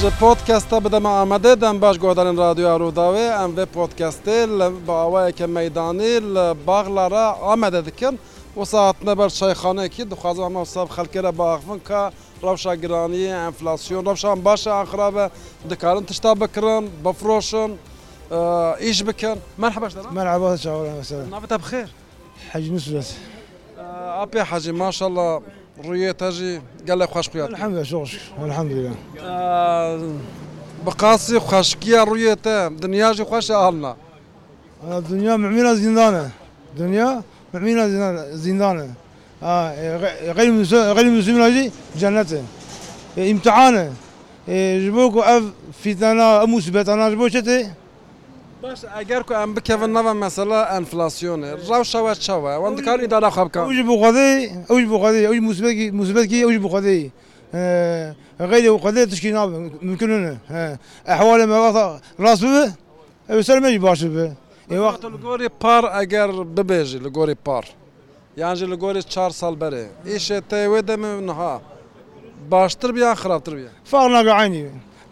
ج پۆدکەستە بدەمە ئامادەدەم باش گۆدارن رادیۆ ئاروداوێ ئەم بێ پۆتکەستی لە باوایەکە مەدانی لە باغلارە ئامادە دکن و ساعت نەبەر شەیخانەکی دخوازم ئەمە ساب خەلکەرە باخن کە ڕەوشەگرانی ئەفلاسیۆن ڕەوشان باشە ئاخراوە دکارن تشتا بکرن بفرۆشن e, ئیش بکەن من حبش مرحبا شاورا مثلا نابێتە بخێر حج نسوس E, ئاپێ حەجی ماشەڵە ڕویێ تەژی گەلێ خۆشقیات الحمد لله شغل شغل. والحمد لله E, بقاسی خشکیە ڕویێتە دنیاژی خۆشە هەڵنا أنا الدنيا معمينا زندانة الدنيا معمينا زندانة- زندانة آه، غ- غير مسلم غير مسلم لاجي جنته إيه، امتحانه إيه، جبوكو اف فتنة مسبتنا جبوك شتي باش ئەگەر کو ئەم بکەون نەوە مەسەلا ئەنفلاسیۆنێ ڕاو شەوە چەوە ئەوەن دکار ئیدارا خەبکە اوج بوخذي اوج بوخذي اوج مسبكي مسبكي اوج بوخذي غير وخذي تشكي ناب ممكننا احوال ما وصل راس به وسلم ايش باش به اي وقت وەخت لە گۆری پار ئەگەر ببێژی لە گۆری پار یانجی لە گۆری چار ساڵ بەرێ ئیشێ تەوێ دەمێ نها باشتر بیان خراپتر بیە فارنا قعيني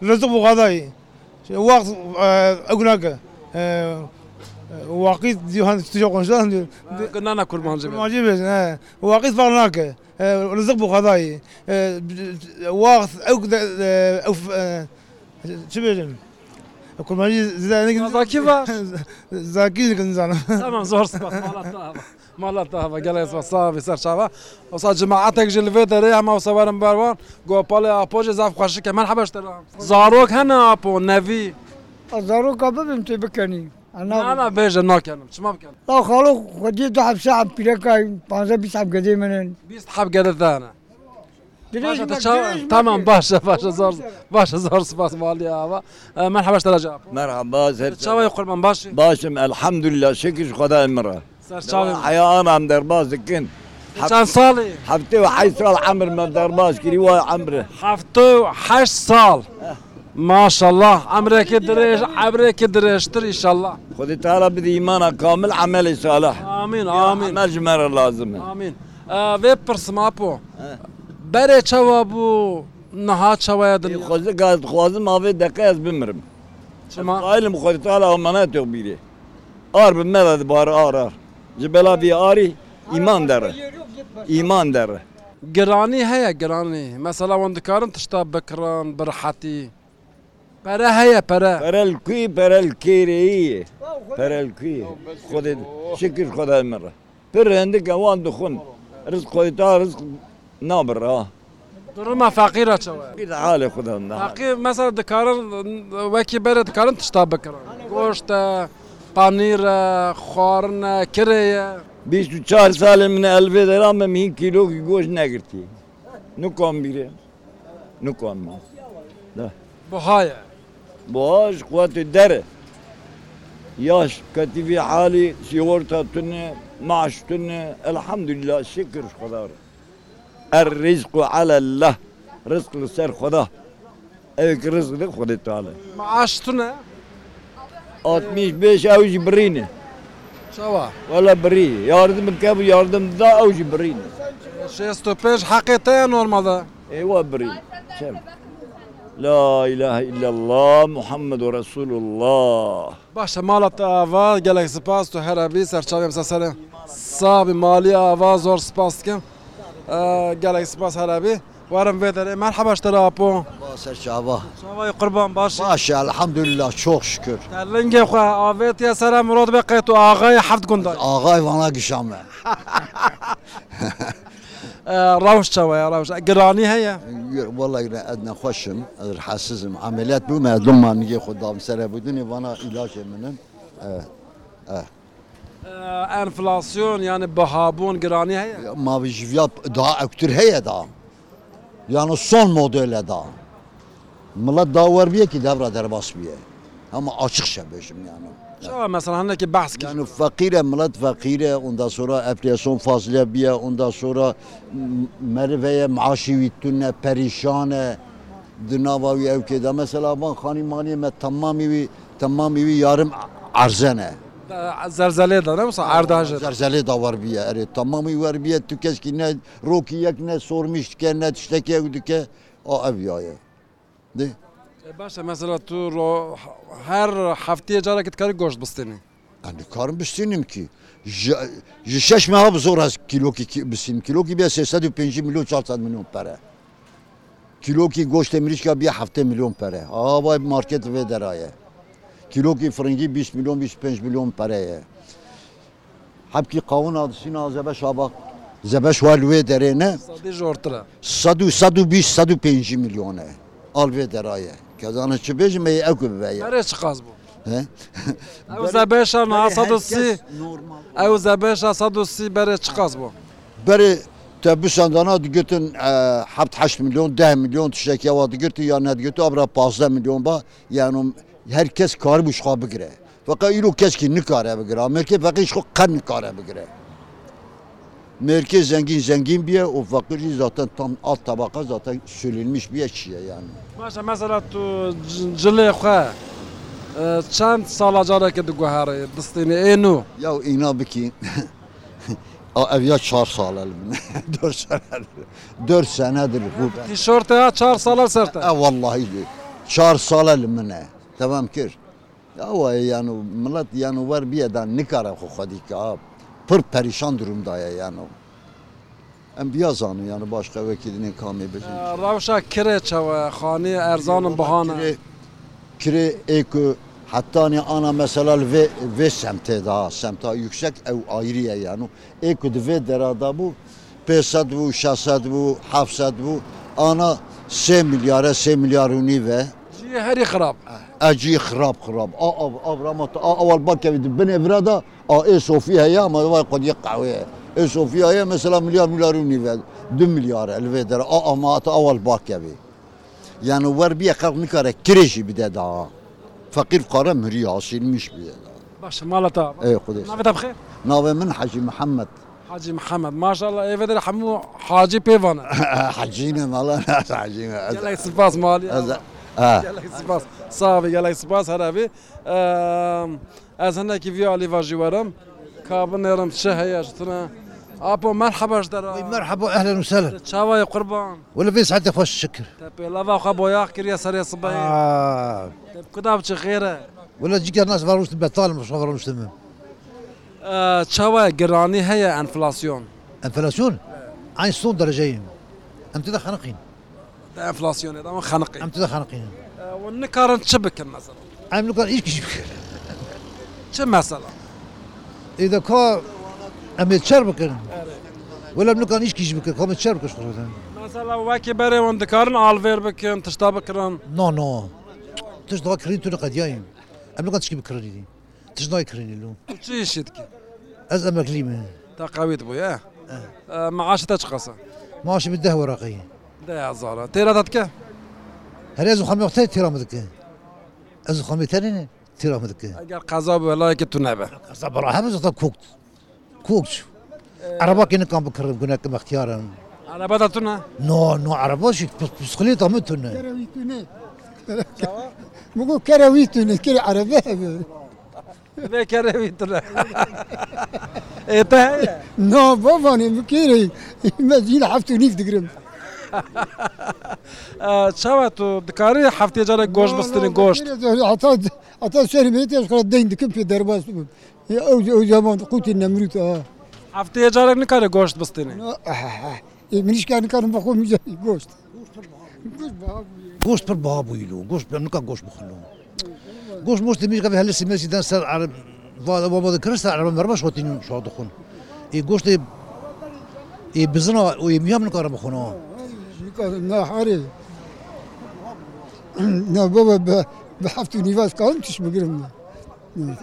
رزق بوخذي وقت اقولك وقت ديوان تشوقون شلون نانا کورمانجی ما جيبش اه وقت فرناك اه رزق بوخذي وقت او او شبيجم كل ما يجي زين زاکی بە زاكي كنزان تمام زۆر سپاس ماڵەتەوە گەڵێ ساوی سەر چاوە ئەوسا جماعەتێکژ لێ دەرێ ئەمە سەوارم بەروان گۆپاڵی ئاپۆژی زاف خوۆشکە من حبشتە زارۆک هەنا ئاپۆ نەوی الضروره قبل انت بكني انا نانا بێژە ناکەنم چما بکەن لا خالو خدي تعب ساعه بلاكاي 15 بيسحب قدي منن بیست حب گەدەدانە دريج مك- دريج مك. تمام باشە باشە زۆر باشە زۆر سپاس ماڵی ئاوە من حبشتە لە جاپ مرحبا زرت چاوی قوربان باشی باشم الحمد لله شكش خدا مرة سەر چاوی حيا انا عم درباز كن چەند ساڵی حبتي وحي صار عمر ما درباز كري وا عمره هەفت و هەشت ساڵ ماشەله ئەمرێکی درێژ عبرێکی درێژتر ئیشەله خذ تعالى بدي ايمانا كامل عملي صالح ئامین ئامین عمل جمرة لازم ئامین وێ پرسماپۆ بەرێ چاوە بوو نەها چاوەیە دنی خذ قاعد خوازم ما في دقيقة بمرم خۆشما قايل خذ تعالى امانات بيري ار بمرض بار ار ار جبلا في اري ايمان در ايمان در گرانی هەیە گرانی مەسەلا وندکارن تشتا بکڕان بڕحەتی پەرە هەیە پەرە فرل كوي فرل كيري فرل كوي خد شكر خدا مرة فر عندك اوان دخن رزق خدتا رزق نابر اه درمە فەقیرە چاوە كده حالي خدا منا فەقی مەسەلا دکارن وەکی بەرە دکارن تشتا بکڕان گۆشتە پانیرە خواردنە کرەیە بيش چار سال من الف درام من هين كيلو كي گوش نگرتي نکام بیره نکام ما بهایە باش قوات دره ياش كتفي حالي سيورتا تنه معش تنه الحمد لله شكر خدا الرزق على الله رزق لسر خدا ايك رزق لخدا تعالى معاشتونە آتميش بيش او جبرينه چاوە ولا بري ياردم كابو ياردم دا او جبرينه شێست و پێش حەقێتەیە نۆرمەدە ايوا بري شم. لا اله الا الله محمد رسول الله باشە ماڵەت ئاوا گەلێک سپاس و هەرەبی سەرچاوێم سەسەرێ سابی مالی ئاوا زۆر سپاس بکەم گەلێک سپاس هەرەبی وارم بێ دەرێ مەر حەبەشتەرا پۆ باسر شعبا چاوای قربان باش ماشاء الحمد لله çok şükür. لنگێ خو ئاوێت یا سەرە مرۆت بێ قێت و ئاغای حەفت گوندای Ağay bana gişamla. E, ڕەوش چاوەیە ڕەوش گرانی هەیە Vallahi ne edne hoşum, rahatsızım. Ameliyat bu mezlum maniye kudam serebudini bana ilaç eminin. e, ئەنفلاسیۆن یانی بەهابوون گرانی هەیە Mavi jivyap daha öktür heye daha. Yani son modele daha. Millet daha var bir ki devre derbas bir. Ama açık şebeşim yani. چاوە مەسەلا هەندێکی بەحس کرد Yani fakire millet fakire ondan sonra enflasyon fazla bir ondan sonra m- merveye maaşı vittune perişane dinava bir evkede mesela ben hani maniyeme tamamı bir tamamı bir yarım arzene. E, زەرزەلێ دەنەمسا ئارداژێت Zerzeli da var bir yer. Tamamı var bir yer tükes ki ne rokiyek ne sormuş ki ne tişteki evdike o ev yaya. De. باشه مثلا تو رو هر هفته جاره کت کاری گوشت بستنی انا كارم بستينم كي ج- جشاش ما هو بزور هاس كيلو كي كي بستين كيلو كي بيا 650 مليون 400 مليون برا كيلو كي غوشت امريكا بيا 7 مليون برا اه باي ماركت في درايه كيلو كي فرنجي 20 مليون 25 مليون برا حبكي قاون هاد سينا زباش ابا زباش والوي درينه سادی جورتره 100 120 150 مليون الوي درايه كذا چه بيجم اي اكو بيا هر چی قاز بو ها او زبش انا 130 نورمال او زبش 130 بره چی قاز بو بري تبسان دانا دقتن حبت 8 مليون 10 مليون تشتكي وا دقتي يا نه دقتي ابرا 15 مليون با يعني herkes karı bu şoka bigire. Fakat ilo keski ne kara bigire. Amerika fakir şok kan ne kara bigire. Merke zengin zengin bir yer, o fakiri zaten tam alt tabaka zaten söylenmiş bir şey yani. باشه مثلا تو ج- جلی خو چند سال جاره که دو گوهره بستنی اینو Ya inan ki ev ya 4 sal elbine. 4 senedir. 4 senedir bu. E, تیشورت ها 4 سال سرته اه والله يجي شهر صلال منه تمام كير هو يعني ملت يعني ور بيدان نكار خو خدي كاب پر پریشان durumda ya yani. Em biyazanı yani başka vekilini kami bizim. روشا کره چوه خانی ارزان بهانه Kire, kire eko hatta ni ana mesela ve ve semte daha semta yüksek ev ayrı ya yani. Eko de ve derada bu 500 bu 600 bu 700 bu ana 3 milyara 3 milyar uni ve جی هری خراب اجي خراب خراب اه اه اه رمط اه اول باكه بن افرادا اه ايه صوفيا يا ما هو قد يقع وياه ايه صوفيا يا مثلا مليار مليار ونيفاد دو مليار الفيدر اه اه ما أعطى اول باكه بي يعني وربيه خلق نكره كريشي بدا دا فقير قاره مريا اصيل مش بدا باشه مالتا ايه خدي نافت بخير ناوي من حجي محمد حاجی محمد ماشاءالله ایو در همو حاجی پیوانه حجينا مالا حجينا گلک سپاس مالی أز- اه گلک سپاس صافی گلک سپاس هر اوی ام، از هنه که وی آلی واجی ورم کابن ارم چه هیش تنه اپو مرحباش در مرحبا واهلا وسهلا چاوای قربان ولبيس عندك خوش الشكر تپی لوا خواه بایاخ کریه سری صبحی آه. تپ کدام چه خیره ولا تجيك الناس فاروس بطال مش فاروس تمام اه، چاوای گرانی هیه انفلاسیون انفلاسيون عين صون درجين امتدى خنقين انفلاسيون هذا خنقي امتدى خنقين ونكارن تشبك مثلا عامل لك ايش كيشبك شو مثلا اذا كا ام تشربك ولا من كان ايش كيشبك كم تشربك شو خرجت مثلا واكي بري وندكارن الفير بكن تشتا بكرن نو نو تش دوا كرين تو قد يايم ام لك تشكي بكرني دي تش دوا كرين لو تشي شتكي از امك ليمه تقاويت بويا اه معاش تشقصه ماشي بالدهوه راقيه ده يا زهرة تيرا تتكا هل ازو خمي وقتها تيرام ذكا ازو خمي تاني تيرام ذكا قال قزاب ولا كنت نعبه صبر هم زغطا كوكت كوكت عربا كي نكام بكرب قلنا كم اختيارا انا بدأتنا نو نو عربا شي بسخلي طمتنا مگو کره ویتونه کره عربه هبه ذيك ريتنا ايه نه بابا نه کره مزیل هفت و نیف دگرم شوا تو دكاري حفتي جارك گوش بسترين گوشت حتا حتا سری میت اش خلا دین دکم پی درباس بم او او زمان قوت نمرود اه حفتي جارك نكاري گوشت بسترين منیش کردن کارم با خود میزنی گوشت قوش بر بابو يلو قوش بر نكا قوش بخلو قوش موش تميش كافي هل سي ماشي دان سر عرب بابا بابا ذكرس عربا مربا شوتين شو دخون اي قوش تي اي بزنا ويميام نكا عربا خونو نه هره نه بابا به- به هفت و نیواز کارم تش بگیرم نه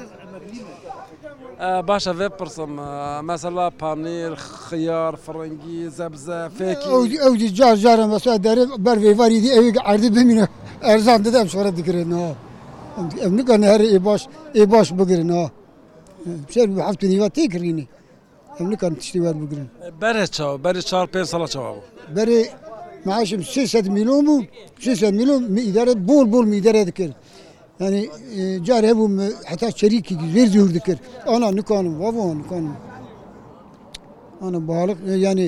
باشا في برسم مثلا بانير خيار فرنجي زبزه او فيكي او جار جار مثلا داره بر ویواری دی اوی عرضه بمینه ارزان دادم شورا بگیرن ها ام نکنه هر ای باش ای باش بگیرن ها بسر به هفت نیوا تیکرینی ام نکنه تشتیوار بگیرن بري تشاو بري تشار بين صلاة تشاو برای معاشم 300 میلیون بود 300 میلیون می اداره بول بول می اداره کرد یعنی جار هبو حتی شریکی زیر زور کرد آنا نکنم بابا نکنم آنا e, بالغ یعنی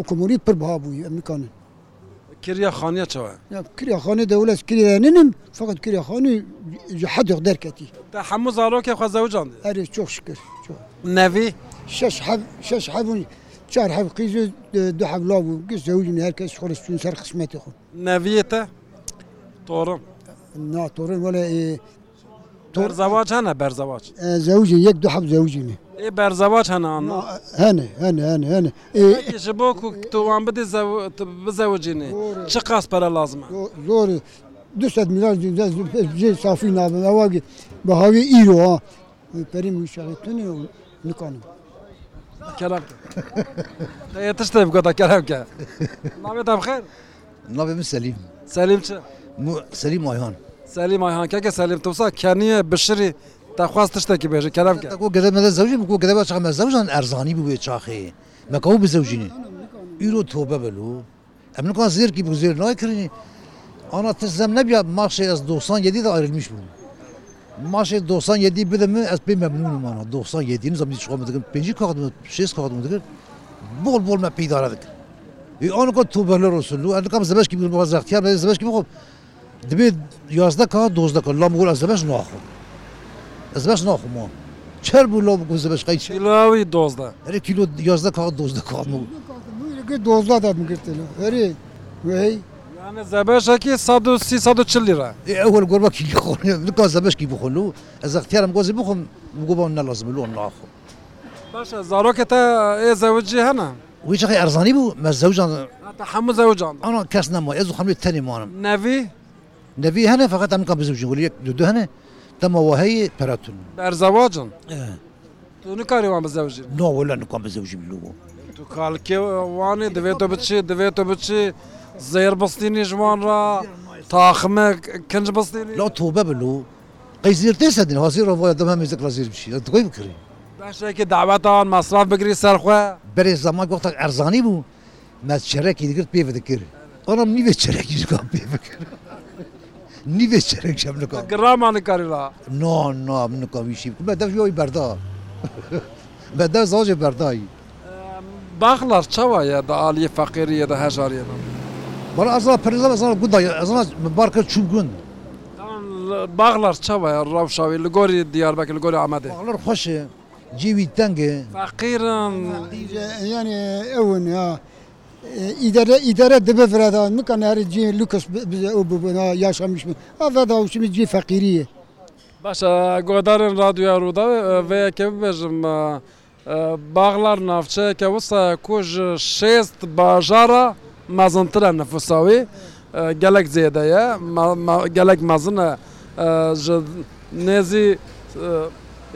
اکموری پر بها بوی ام نکنم Kiriya xaniya çava. Ya kiryaxane devlet kiryanenim fakat kiryaxane cihat yok derketi. Te hemû zarokê xwe zewcan diye. Her çok şükür. Çok. Nevî شش حب شش حب چهار حب قیز دو حب لابو گز زوجین هر کس خورش چون سر قسمت خو neviyê te torum. نه تورن ولا Tor zawac hene berzawac. زوجین یک دو حب زوجینه Ê berzawac hene anna. هنه هنه هنه هنه Peki ji bo ku tu wan bidî zew- tu bizewicînî. Çi qas pere lazım e? زور 200 میلیارد دیدن بجه صافی نابه نواگی به هاوی ایرو ها پریم مشاهدتونه نکنم Keremke. Te yetişti bu kadar Keremke. Namet abi khair. نابم سلیم Selim çi. مو سلیم آیان Selim Ayhan keke Selim Tumsa keniye bişiri te xwaz tiştekî bêje Keremke. کو گده مده زوجی کو گده بچا مده زوجان ارزانی بو چاخه مکو به زوجینی ایرو توبه بلو امن کو زیر کی بزیر نای کرین انا تزم نبیا ماشه از 97 de ayrılmış bu. Maşe 97 bir de mi SP memnunum ana. 97 zaman hiç çıkamadık. Benci kaldım, şey kaldım. Bol bol me pidaradık. E onu ko tuberler olsun. Lu anka zabaş gibi bazı ihtiyar, zabaş gibi ko. Dibe yazda ka, dozda ka. Lam gol zabaş ne akhu. Zabaş ne akhu mu? Çer bu lam gol zabaş kayçı. Kilavi dozda. Her kilo yazda ka, dozda ka mu. که دوزلا داد میگرتن هری وی Yani zebeşeki sadu si sadu çil lira. E evvel gorba kilo khon. Ne ka zabaş gibi khon lu. Az ihtiyaram gozi bu khon. Bu goba ne lazım lu ne akhu. Başa zarokete e zevici hene. وي شيخي ارزاني بو ما الزوجان Hatta hamu zevicandı. انا كاس نما يزو خمي الثاني مانم Nevi نبي هنا فقط امكان بزوجي يقول لك دو هنا تم وهي براتون berzavacın. Tu nikari wan bizewicî. نو ولا نكون بزوجي بلو Tu kalke wanê divê tu biçî, divê tu biçî. Zeyr bistînî ji wan re. Taxime kinc bistînî. لا توبه بلو قيزير تسد هازير ولا دم هم يزك لازير بشي تقول بكري Beşeke daveta wan masraf bigirî serxwe. بري زمان وقت ارزاني بو ما تشركي دقرت بيف ذكر انا مني بتشركي شكون بيف ذكر ني بتشرك شامل كون Grama nikari la. نو نو منكم يشي بدا يوي بردا بدا زوج برداي Baxlar çava ya da aliye fakiri ya da hejari ya da. Bana azına perizel azına guday azına barka çubgun. Tamam, l- Bağlar çava ya Ravşavi, Ligori, Diyarbakır, Ligori, Amadi. Bağlar hoş. Cevi denge. Fakirin, یعنی اون ها اداره اداره دبه فردا میکنه هر جی لوکس بزه او بنا یاشامیش افدا او شمی جی فقیریه başa godarin radyoya ruda e, ve kebejim e, bağlar navçe kevusa kuj şest bajara mazıntıra nüfusavi e, gelek ziyede ya ma, ma, gelek mazına e, ji nezi e,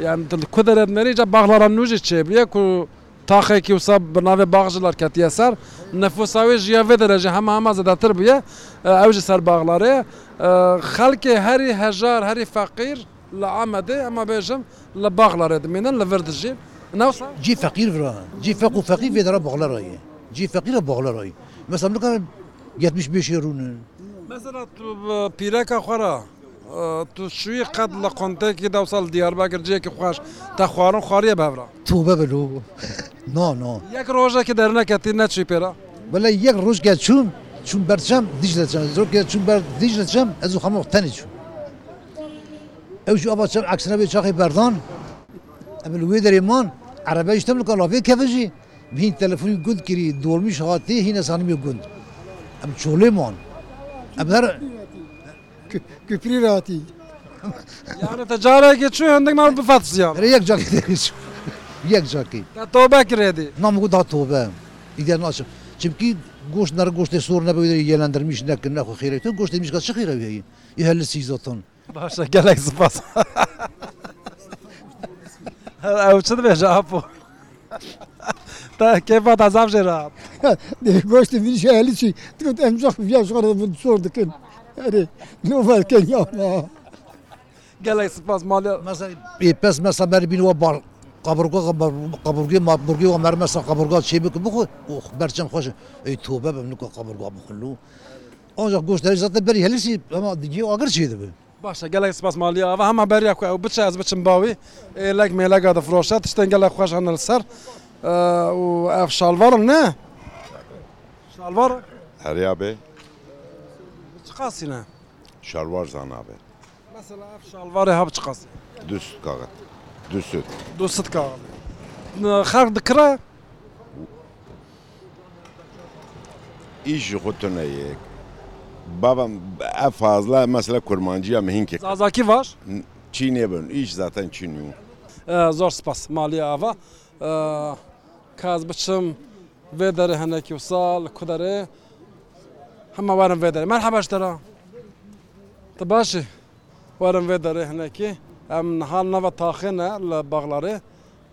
yani dil kudret merice bağlara nuji çebriye ku taxe ki usa binave bağcılar ketiye ser nüfusavi jiya ve derece hema hema zedetir biye evji ser bağları xelkê herî hejar herî feqîr li Amedê em bêjim li bağlarê dimînin li vir dijîn Newsa Ci fakir vra. Ci fakir fakir ve dara bağlar ayı. Ci fakir bağlar ayı. Mesela ne kadar 75 euronu. Mesela tu bi pîreka xwe re e, tu şûyî qed li kontekî dewsa li Diyarbakir ciyekî xweş te xwarin xwariye bevra Tuğbe belo. No no. yek rojekî derine ketî ne çûyî pêra Valla yek roj geçum. Çum berçam dijletçam. Roj geçum ber dijletçam. Ez o hamur tani çum. Ev şu abaçam aksine bir çakı berdan. Emel Wederiman araba işte mi kalafi kefeci. Bin telefonu gund kiri dolmuş hati hine sanım yok gund. E Em çoleman. Emler کپری راتی yani te carekî çû hindik me bi fet ziyan yek cakı deriz. Yek cakı. te tobe kirê dî Nam bu da tobe. İdiyen açım. Çünkü goşlar goşte soruna böyle yelendirmiş ne kırnak o hire. Tüm goşte mişka çıkıyor evi. İhelli sizatan. başa gelek spas ew çi dibêje apo te kêfa te zev jê re گوشت ویل شهلی چی تو امزخ بیا شغل سور دکن هری نو ورکن یا gelek spas maliye Mesela e, pes mesela merbin o bar kaburga kaburga kaburga kaburga o mer mesela kaburga şey bu bu oh berçem hoş e tobe ben nuka kaburga bu kullu. Ancak goşları zaten beri helisi ama diye agır şeydi bu. Başa gelek spas maliye ava hema beriya ku ew biçe ez biçim bawî êlek mêleka difroşe tiştên gelek xweş hene li ser E, Ee, û ev şalvar ne? Şalvar Her ya be. çıkasına. Şalvar zanabe. Mesela ev şalvarı hep çıkasın. Düz kağıt. Düsüt. Dostut kaldı. Xalq dikira İşi kutuna yek. Babam en fazla mesela kurmancıya mihinki. zazaki var. Çin'e bön. İş zaten Çin'in. E, Zor spas maliye ava. E, Kaz biçim vedere heneki usal kudere. Hema varım vedere. Merhaba iştara. Tabaşi. Varım vedere heneki. Em nihal nava taxine le bağları.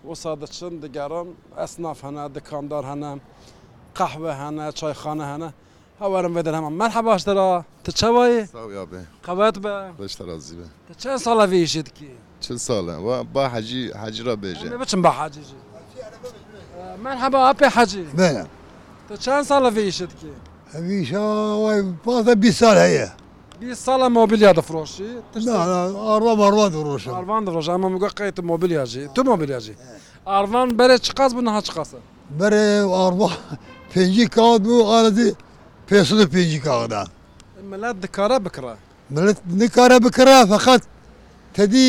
O sadıçın digerim esnaf hene, dikandar hene, kahve hene, çayxane hene. Ha varım vedere hemen. Merhaba iştara. Tıçavayı. Sağ ol abi. Qavat be. Baş terazi be. Te çen sala vi işit ki? Çil sala. Ve ba hacı hacı ra beje. Ne biçim be hacı? Merhaba abi hacı. بله Te çen sala vi işit ki? همیشه وای بازه 20 سال هیه Bir sala mobilya da froşi. نه نه آروام آروام دروشم Arvan da froşi ama mugakkayt mobilyacı. Tu mobilyacı. Arvan bere çıkaz bu naha çıkası. بره آروام پنجی کاغد بو آردی پیسون پنجی کاغده Millet dikara bikra. ملت نکاره بکره فقط تدی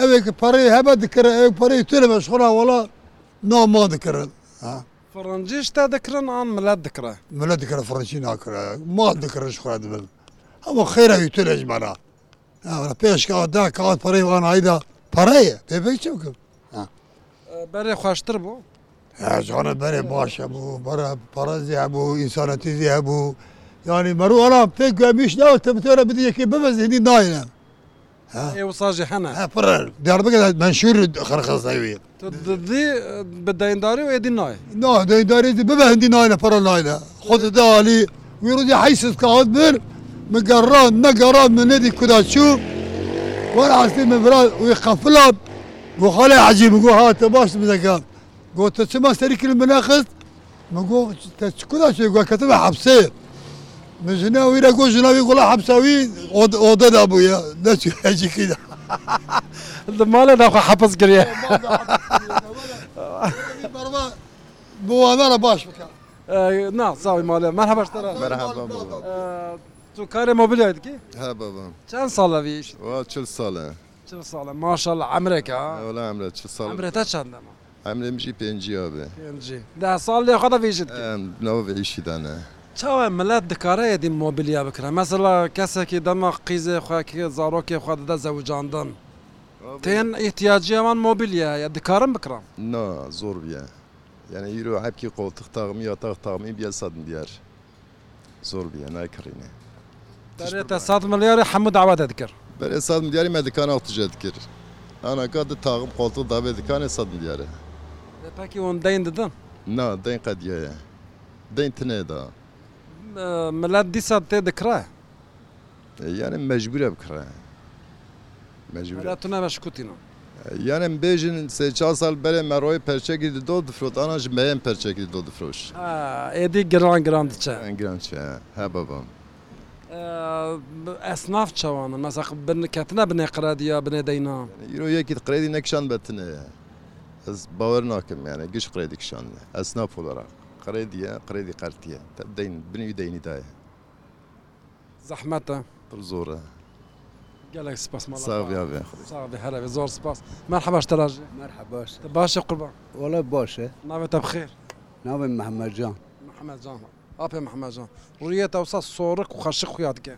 اوه که پره هبه دکره اوه پره تونه مشغوله ولا ناما دکره ها Fırıncı işte dikirin an millet dikra. ملت دکره فرنچی نکره ما دکره شخوره دبن اما خیره اوه تونه جمعنا پیش کاغد ده کاغد پره وان هایده پره پیپک چه بکم Bere hoştur bu. جان بره باش ابو بره پرزی ابو انسانتی زی ابو یعنی مرو الان فکر میش نه تو بتونه بدی یکی ببزه دی ناینه E usajı hene. ها پر دیار بگه منشور خرخص نیوی Tu dedi bedayindari ve edin nay. نه دی داری دی ببه دی ناینه پر ناینه خود دالی ویروزی حیثت کهات بر مگران نگران من ندی کدا شو ور عصی مبران وی خفلاب و خاله عجیب گو ها تباش مزگان گو تو چه ما سری کلمه نخست مگو تا چکودا شو گو کتب حبسه مجناوی را گو جناوی گلا حبساوی اوده دا بویا دا چو هجی کدا Mala da hapız giriyor. بوانا را باش بکن Na savi mala. Merhaba iştara. مرحبا بابا Tu kare mobilyaydı ki? ها بابا Çen sala vi işit? و چل ساله Çen sala. Maşallah Amerika. ha. ولا عمره چل ساله Amerika te çende mi? عمره میجی پنجی آبه Genci. De sal ya kadar vi işit ki? ام نو عیشی دانه Çava millet dikare edin mobilya bikre. Mesela keseki dema qize xwaki zaroki xwadi da zevcandan. Ten ihtiyacı yaman mobilya ya dikarın bikram. نه زور بیا یعنی ایرو هب کی قلتق تاغمی یا تاغ تاغمی بیا سادن دیار زور بیا نکرینه Dere te sat milyarı hamı davet edikir. بر سادن دیاری مدکان اختجد کر انا قد تاغم قلتق دابه دکان سادن دیاره E Peki onu deyin dedin. نه دین قدیه دین تنه دا E, Millet disa te dikre. یعنی مجبوره بکره مجبوره Milletuna ve şkutinu. E Yani bejin se çasal bere meroy perçe girdi do difrot anaj meyen perçe girdi do difroş. Ha, Edi giran giran diçe. En grançe ha babam. Ee, bu esnaf çavanı mesela bin ketine bine qiradiya bine deyna Euro yekit kredi nekşan betine. Ez bawer nakim yani güç kredi kşan. Esnaf olarak krediye kredi kartiye. Tabdeyn bin yüdeyni daye. zahmete Tur zora. gelek spas mala Sağ ol abi. sağ bi hele zor spas merhaba iştiraci مرحبا başı kurban والله باشا navet bxir ناوي محمد جان Mehmet Can apê Mehmet Can rûyê te wisa sorik û xeşik xuya dike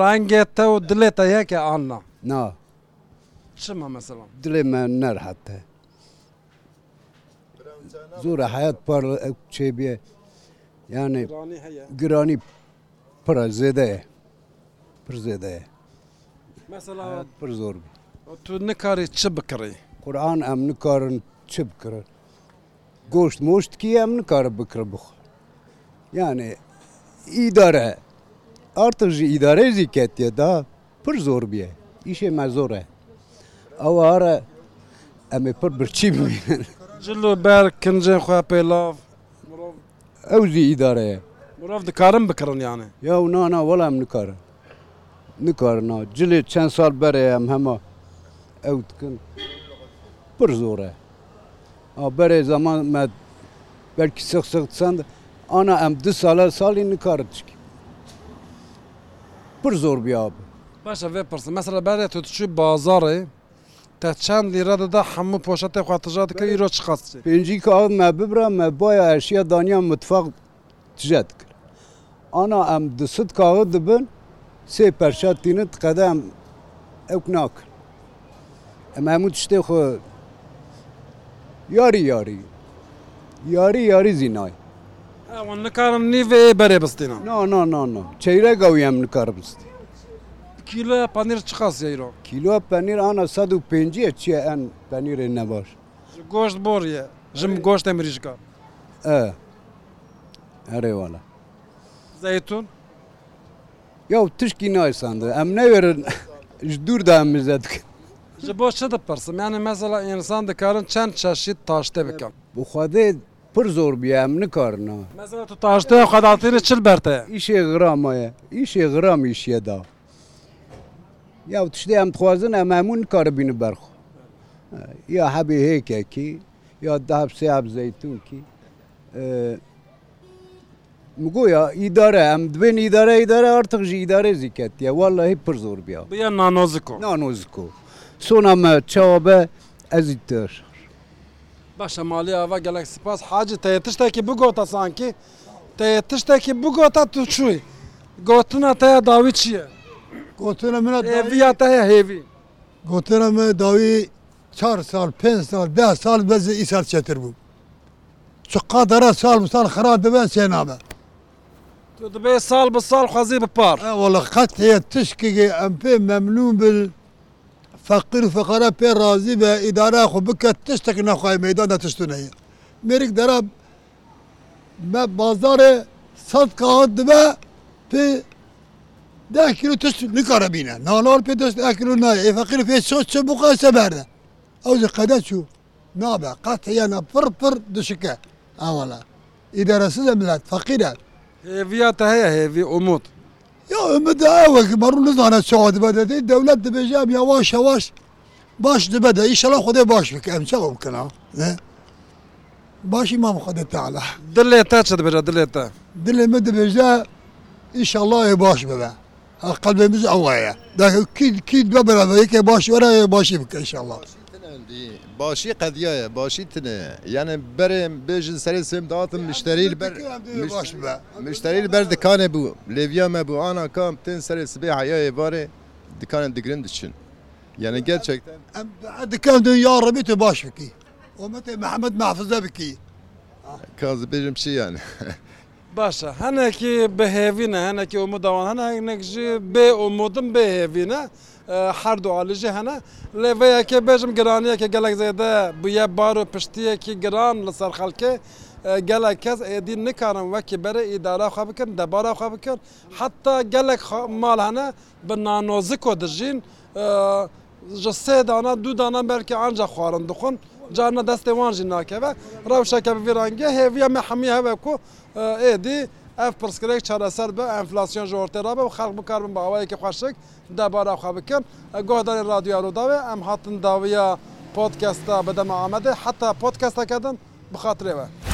rengê te û dilê te yeke anna نا çima mesela دلي ما نار حتى زور حياة بار شيبية يعني Rani heye جراني برا زيدة بر زيدة mesela بر زور بي. tu nikarî çi bikirî قرآن ام نكارن تشب كر گوشت موشت كي ام نكار بكر بخ يعني إدارة artık ji idare ziket ya da pır zor bir. İşe mazor e. Ama ara em pır birçi mi? cilû ber kincên xwe pê lav mirov Ev ji idare ye. mirov dikarin bikirin yani Ya na na valla em nikar. Nikar na. Cili çen sal bere em hema. Ev dikin. Pır zor e. A bere zaman me belki sık sık sen de ana em di sala salin nikar çık. پر زور بیا باشه بپرسم مثلا برای تو چی بازاره تا چند لیره ده همو پوشت خواهد تجارت که ایرو چی خواست پنجی که آد ما ببرم ما بایا اشیا دانیا متفاق تجد کر آنا ام دست کاغد دبن سه پرشات تینت قدم اوک ناکر ام همو تشتی خو یاری یاری یاری یاری زینای اون نکارم نیوه بره بستینا نه نه نه نه چیره گویم نکار بستی کیلو پنیر چی خواست ایرو کیلو پنیر آنا صد و پنجی چیه ان پنیر نباش گوشت بوریه جم گوشت امریشکا اه هره والا زیتون Ya tişki naysandı. Em ne verin? Ji dur da em izledik. Ji bo çi dipirsim yani mesela insan dikarin çend çeşit taşte bikin Bu xwedê pir zor bûye em nikarin ha. مثلا تو تاشته خدا تیر چل برته İşê ğrama ye. İşê ğram işe da. Ya tiştê em dixwazin em hemû nikaribînin ber xwe. Ha, Ya hebê hêkekî ya da heb sê heb zeytûnkî. Ee, Mi goya îdare em dibên îdare îdare artık ji îdare zîketiye. Vallahi pir zor bûye. Bu ya nanoziko. Nanoziko. Sona me çawabe ez îtir. Başa mali ava gelek spas hacı te yetişteki bu gota sanki. Te yetişteki bu gota tu çuy. Gotuna te davi çiye. گوتنا من Evi ya te hevi. گوتنا من داوی چهار سال پنج سال ده سال بز ای سال چتر بود چه قدر سال مثال خراب ببن سینامه Tu dibe sal bi sal xazi bi par. اه والله خط هي تشكي ام بي ممنون بال فقير وفقراء بي راضي به اداره خو بك تشتك نخواي ميدان تشتونه ميرك درب ما بازار صد قاعد به بي ده كيلو تشت نكربينا نالار بي تشت اكلو نا اي فقير في شو شو بقى سبرده او زي قدا شو نابع قط هي انا فر فر دشكه اولا اداره سيده ملت فقيره Evi ya te hevi umut. Ya Ümit Ağabey marul nizane çoğadı bende değil. Devlet de becem yavaş yavaş baş dibe de inşallah Kude baş bir emsal olkan ha. Ne? Baş imam Kude Teala. Dille te çed bira dille te. Dilimi de bece inşallah baş bebe. Ha, Kalbimiz Allah'a. Lakin kid kid ve beraber iki baş var ya baş bir inşallah. باشی قضیه باشی تنه یعنی برم بیشن سری سیم داتم مشتری بر Baş bebe. مشتری بر دکانه بو لیویا ما بو آنا کام تن سری سبی حیای باره دکانه دگرند چین یعنی gerçekten Em بعد كان يا ربي تباش بكي. ومتى محمد محفظه بكي. کاز بیشم چی یعنی Başa haneki bi hevine haneki umut avan hanek ji be e, umudun be hevine her du aliji hene leve yeke bejim giraniye ke gelek zeyde bu ye baro piştiye ki giran li ser xelke gelek kes êdî nikarin wekî bere îdara xwe bikin debara xwe bikin heta gelek xa- mal hene bi nanoziko dijîn e, ji sê dana du dana belkî anca xwarin dixwin carna destê wan jî nakeve rewşeke bi vî rengê hêviya me hemî heve ku êdî ev pirsgirêk çareser be enflasyon ji ortê rabe û xelk bikarbin bi awayekê xweşik debara xwe bikin goh derê radyoya rûdawê em hatin dawiya podcasta bi dema amedê heta podcasteke din bi xatirê we